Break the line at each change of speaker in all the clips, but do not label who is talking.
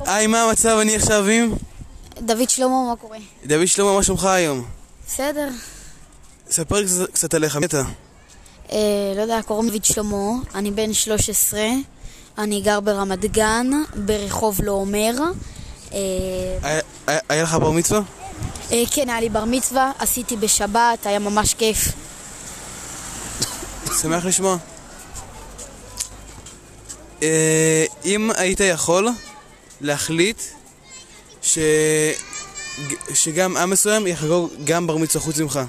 היי, מה המצב? אני עכשיו עם
דוד שלמה, מה קורה?
דוד שלמה, מה שלומך היום?
בסדר.
ספר קצת- קצת עליך, מי אתה?
אה, לא יודע, קוראים לי דוד שלמה, אני בן 13, אני גר ברמת גן, ברחוב לא אומר. אה,
היה- היה- היה לך בר מצווה?
אה, כן, היה לי בר מצווה, עשיתי בשבת, היה ממש כיף.
שמח לשמוע. אה, אם היית יכול להחליט ש... שגם עם מסוים יחגוג גם בר מצווה חוץ ממך.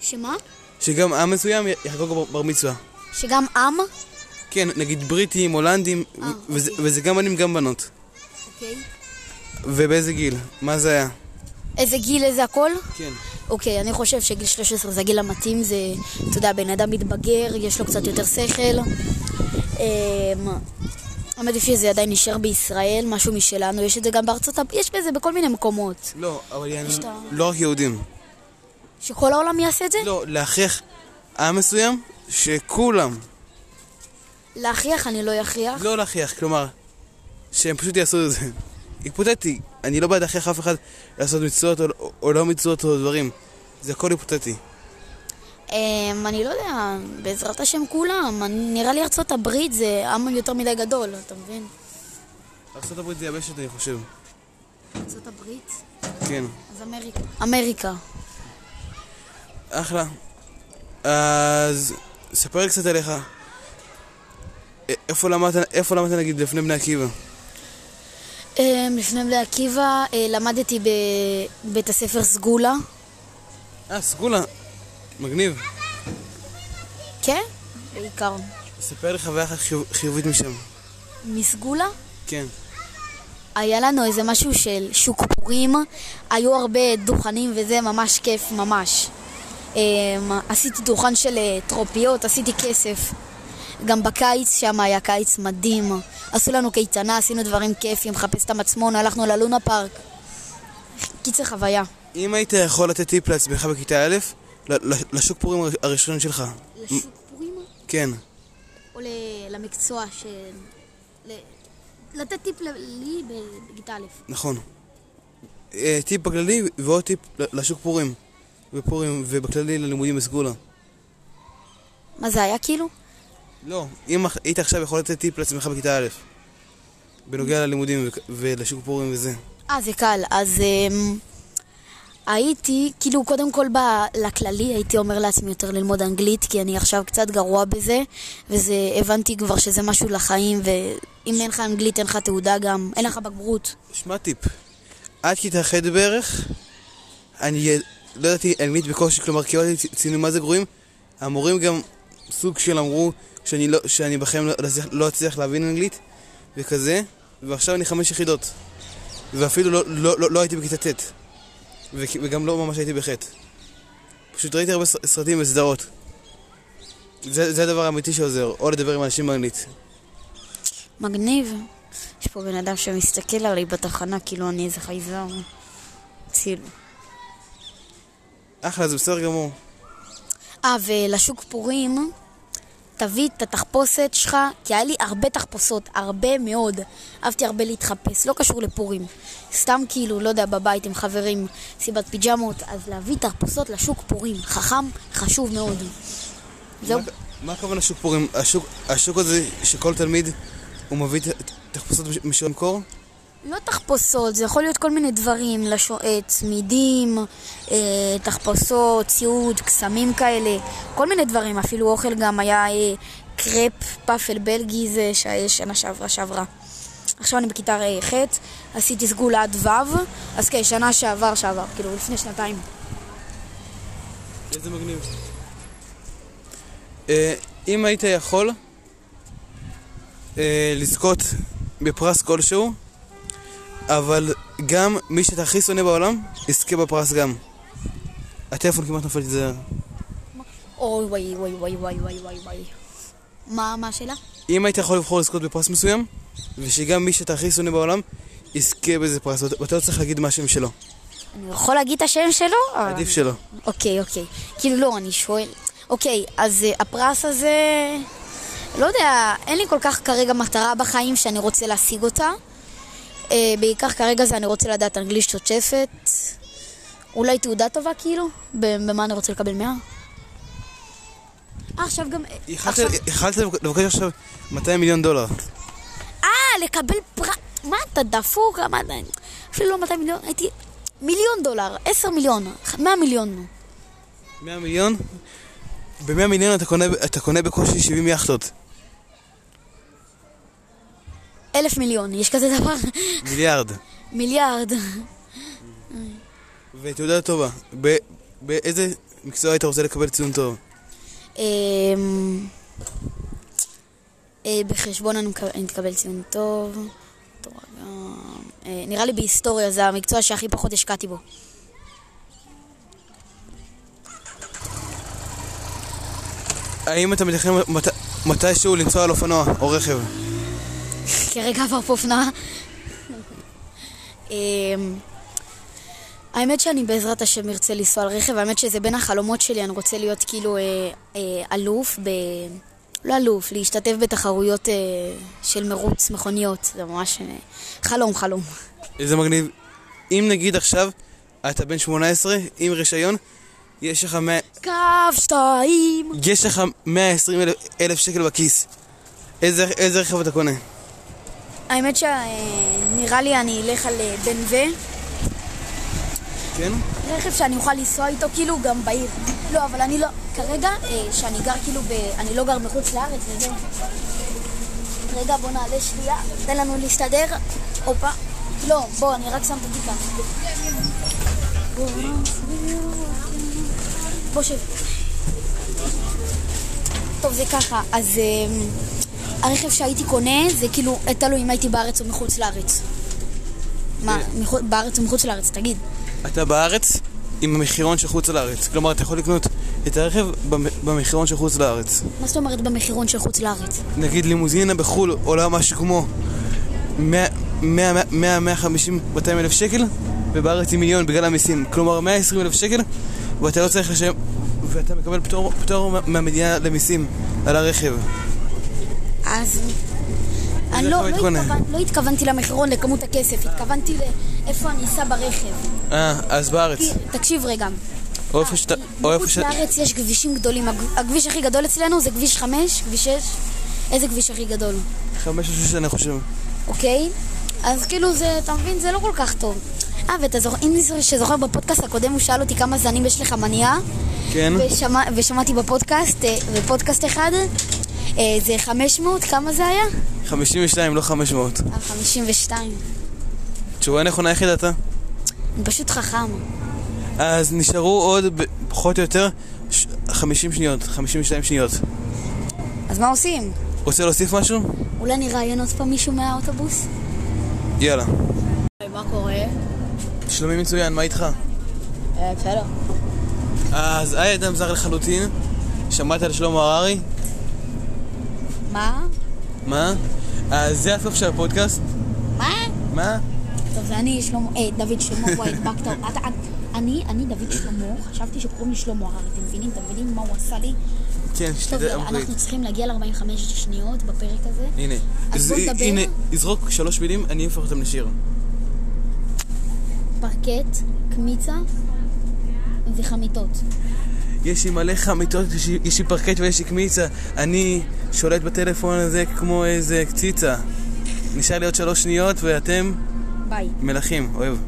שמה?
שגם עם מסוים יחגוג בר- בר מצווה.
שגם עם?
כן, נגיד בריטים, הולנדים,
אה,
ו- וזה-
אוקיי.
וזה גם בנים גם בנות.
אוקיי.
ובאיזה גיל? מה זה היה?
איזה גיל, איזה הכל?
כן.
אוקיי, אני חושב שגיל 13 זה הגיל המתאים, זה, אתה יודע, בן אדם מתבגר, יש לו קצת יותר שכל. אמ, האמת היא שזה עדיין נשאר בישראל, משהו משלנו, יש את זה גם בארצות הברית, יש בזה בכל מיני מקומות.
לא, אבל
יש
יענו,
את ה-
לא רק יהודים.
שכל העולם יעשה את זה?
לא, להכריח עם מסוים שכולם,
להכריח אני לא אכריח.
לא להכריח, כלומר, שהם פשוט יעשו את זה. היפותטי, אני לא בעד להכריח אף אחד לעשות מצוות או, או לא מצוות או דברים. זה הכל היפותטי.
אמ, אני לא יודע, בעזרת השם כולם. אני- נראה לי ארצות הברית זה עם יותר מדי גדול, אתה מבין?
ארה"ב זה יבשת, אני חושב.
ארצות הברית?
כן.
אז אמריקה. אמריקה.
אחלה. אז ספר לי קצת עליך. א- איפה למדת, איפה למדת נגיד לפני בני עקיבא?
אמ, לפני בני עקיבא אה, למדתי בבית הספר סגולה.
אה, סגולה. מגניב.
כן? בעיקר.
ספר לי חוויה אחת חיוב- חיובית משם.
מסגולה?
כן.
היה לנו איזה משהו של שוק פורים, היו הרבה דוכנים וזה ממש כיף, ממש. אמ, עשיתי דוכן של אה, טרופיות, עשיתי כסף. גם בקיץ, שם היה קיץ מדהים. עשו לנו קייטנה, עשינו דברים כיפים, חפש את המצמון, הלכנו ללונה פארק. קיצר חוויה.
אם היית יכול לתת טיפ לעצמך בכיתה א', ל- ל- לשוק פורים הר- הראשון שלך.
לשוק פורים?
כן.
או למקצוע ש... לתת טיפ לי בכיתה א'.
נכון. אה, טיפ בכללי ועוד טיפ ל- לשוק פורים. בפורים ובכללי ללימודים בסגולה.
מה זה היה כאילו?
לא. אם אח- היית עכשיו יכול לתת טיפ לעצמך בכיתה א', בנוגע ללימודים וכ- ולשוק פורים וזה.
אה, זה קל. אז אמ, הייתי, כאילו, קודם כל ב, לכללי, הייתי אומר לעצמי יותר ללמוד אנגלית, כי אני עכשיו קצת גרוע בזה, וזה, הבנתי כבר שזה משהו לחיים, ואם אין לך אנגלית, אין לך תעודה גם, אין לך בגרות.
שמע טיפ. עד כיתה ח' בערך, אני י- לא ידעתי אנגלית בקושי, כלומר קיבלתי צ- ציונים מה זה גרועים. המורים גם סוג של אמרו שאני, לא, שאני בחיים לא, לא, אצליח- לא אצליח להבין אנגלית, וכזה, ועכשיו אני חמש יחידות. ואפילו לא, לא, לא, לא הייתי בכיתה ט', וכ- וגם לא ממש הייתי בח'. פשוט ראיתי הרבה ס- סרטים וסדרות. זה, זה הדבר האמיתי שעוזר, או לדבר עם אנשים באנגלית.
מגניב. יש פה בן אדם שמסתכל עלי בתחנה, כאילו אני איזה חייזר. כאילו.
אחלה, זה בסדר גמור.
אה, ולשוק פורים, תביא את התחפושת שלך, כי היה לי הרבה תחפושות, הרבה מאוד. אהבתי הרבה להתחפש, לא קשור לפורים. סתם כאילו, לא יודע, בבית עם חברים, סיבת פיג'מות, אז להביא תחפושות לשוק פורים. חכם, חשוב מאוד. זהו.
מה- מה הכוונה שוק פורים? השוק, השוק הזה שכל תלמיד הוא מביא ת- תחפושות מש- משל למכור?
לא תחפושות, זה יכול להיות כל מיני דברים, לשו... אה, צמידים, אה, תחפושות, ציוד, קסמים כאלה, כל מיני דברים, אפילו אוכל גם היה אה, קרפ, פאפל בלגי זה שהיה שנה שעברה שעברה. עכשיו אני בכיתה אה, ח', עשיתי סגולה עד ו', אז כן, שנה שעבר שעבר, כאילו לפני שנתיים.
איזה מגניב. אה, אם היית יכול אה, לזכות בפרס כלשהו, אבל גם מי שאתה הכי שונא בעולם, יזכה בפרס גם. הטלפון כמעט נפל תיזהר.
אוי וואי וואי וואי וואי וואי וואי וואי. מה, מה השאלה?
אם היית יכול לבחור לזכות בפרס מסוים, ושגם מי שאתה הכי שונא בעולם, יזכה באיזה פרס, ואתה- ואתה לא צריך להגיד מה השם שלו,
אני יכול להגיד את השם שלו? אבל-
עדיף שלו.
אוקיי, אוקיי. כאילו, לא, אני שואל. אוקיי, אז אה, הפרס הזה... לא יודע, אין לי כל כך כרגע מטרה בחיים שאני רוצה להשיג אותה. אה, בעיקר כרגע זה אני רוצה לדעת אנגלית שוטפת, אולי תעודה טובה כאילו, ב- במה אני רוצה לקבל 100. אה, עכשיו גם...
יכלת
עכשיו...
יכלת לבקש עכשיו 200 מיליון דולר.
אה, לקבל פרס... מה אתה דפוק? מה אתה... אפילו לא 200 מיליון, הייתי... מיליון דולר, 10 מיליון, 100 מיליון. נו.
100 מיליון? ב-100 מיליון אתה קונה, אתה קונה בקושי 70 יאכטות.
אלף מיליון, יש כזה דבר?
מיליארד.
מיליארד.
ותעודה טובה. ב- באיזה מקצוע היית רוצה לקבל ציון טוב?
אמ, אה, בחשבון אני מקב- אני תקבל ציון טוב. תורה גם. אה, נראה לי בהיסטוריה זה המקצוע שהכי פחות השקעתי בו.
האם אתה מתכנן מת... מתישהו לנסוע על אופנוע או רכב?
כרגע עבר פה אופנוע. אמ, האמת שאני בעזרת השם ארצה לנסוע על רכב, האמת שזה בין החלומות שלי, אני רוצה להיות כאילו אה, אה, אלוף ב... לא אלוף, להשתתף בתחרויות אה, של מרוץ מכוניות, זה ממש אה, חלום חלום.
זה מגניב. אם נגיד עכשיו אתה בן 18 עם רישיון, יש לך, 100...
קו שתיים!
יש לך 120 אלף, אלף שקל בכיס. איזה, איזה רכב אתה קונה?
האמת שנראה לי אני אלך על אה, בן ו...
כן?
רכב שאני אוכל לנסוע איתו כאילו גם בעיר. לא, אבל אני לא... כרגע, אה, שאני גר כאילו ב... אני לא גר מחוץ לארץ וזה... רגע, בוא נעלה שנייה, תן לנו להסתדר. הופה. לא, בוא, אני רק שם את הכיפה. בוא שב. טוב, זה ככה, אז אמ, הרכב שהייתי קונה זה כאילו, תלוי אם הייתי בארץ או מחוץ לארץ. מה, מחו- בארץ או מחוץ לארץ, תגיד.
אתה בארץ עם המחירון של חוץ לארץ. כלומר, אתה יכול לקנות את הרכב במ- במחירון של חוץ לארץ.
מה זאת אומרת במחירון של חוץ לארץ?
נגיד לימוזינה בחו"ל עולה משהו כמו 100-150-200 אלף שקל, ובארץ היא מיליון בגלל המיסים. כלומר, 120 אלף שקל, ואתה לא צריך לשלם, ואתה מקבל פטור, פטור מה- מהמדינה למיסים על הרכב.
אז... אני
איך
לא,
אתה
לא,
מתכונן?
התכוונ... לא התכוונתי למחירון לכמות הכסף, התכוונתי לאיפה אני אסע ברכב.
אה, אז בארץ.
כי- תקשיב רגע,
או איפה שאתה... או איפה
בחוץ
שאתה...
לארץ יש כבישים גדולים. הג- הכביש הכי גדול אצלנו זה כביש 5, כביש 6. איזה כביש הכי גדול,
חמש או שש, אני חושב.
אוקיי? אז כאילו זה, אתה מבין, זה לא כל כך טוב. אה, ואתה זוכר, אם מישהו שזוכר בפודקאסט הקודם, הוא שאל אותי כמה זנים יש לך מניעה.
כן?
ושמע, ושמעתי בפודקאסט, אה, בפודקאסט אחד, אה, זה 500, כמה זה היה?
52, לא 500.
אה, 52.
תשובה נכונה, איך ידעת?
אני פשוט חכם.
אז נשארו עוד ב- פחות או יותר ש- 50 שניות, 52 שניות.
אז מה עושים?
רוצה להוסיף משהו?
אולי נראיין עוד פעם מישהו מהאוטובוס?
יאללה.
מה קורה? אה,
שלומי מצוין, מה איתך?
בסדר.
אז היי אדם זר לחלוטין, שמעת על שלמה הררי?
מה?
מה? אז זה הסוף של הפודקאסט?
מה?
מה?
טוב, זה אני, שלמה, אה, דוד שלמה, וואי, הדבקת, אתה, אתה- אני, אני דוד שלמה, חשבתי שקוראים לי שלמה הררי, אתם מבינים? אתם מבינים מה הוא עשה לי?
כן,
טוב,
שתדע
יאללה,
אמרית.
אנחנו צריכים להגיע ל-45 שניות בפרק הזה.
הנה.
אז
ז-
בוא נדבר.
הנה, יזרוק שלוש מילים, אני אהפוך אותם לשיר.
פרקט, קמיצה וחמיתות.
יש לי מלא חמיתות, יש לי- יש לי פרקט ויש לי קמיצה. אני שולט בטלפון הזה כמו איזה קציצה. נשאר לי עוד שלוש שניות ואתם
ביי.
מלכים, אוהב.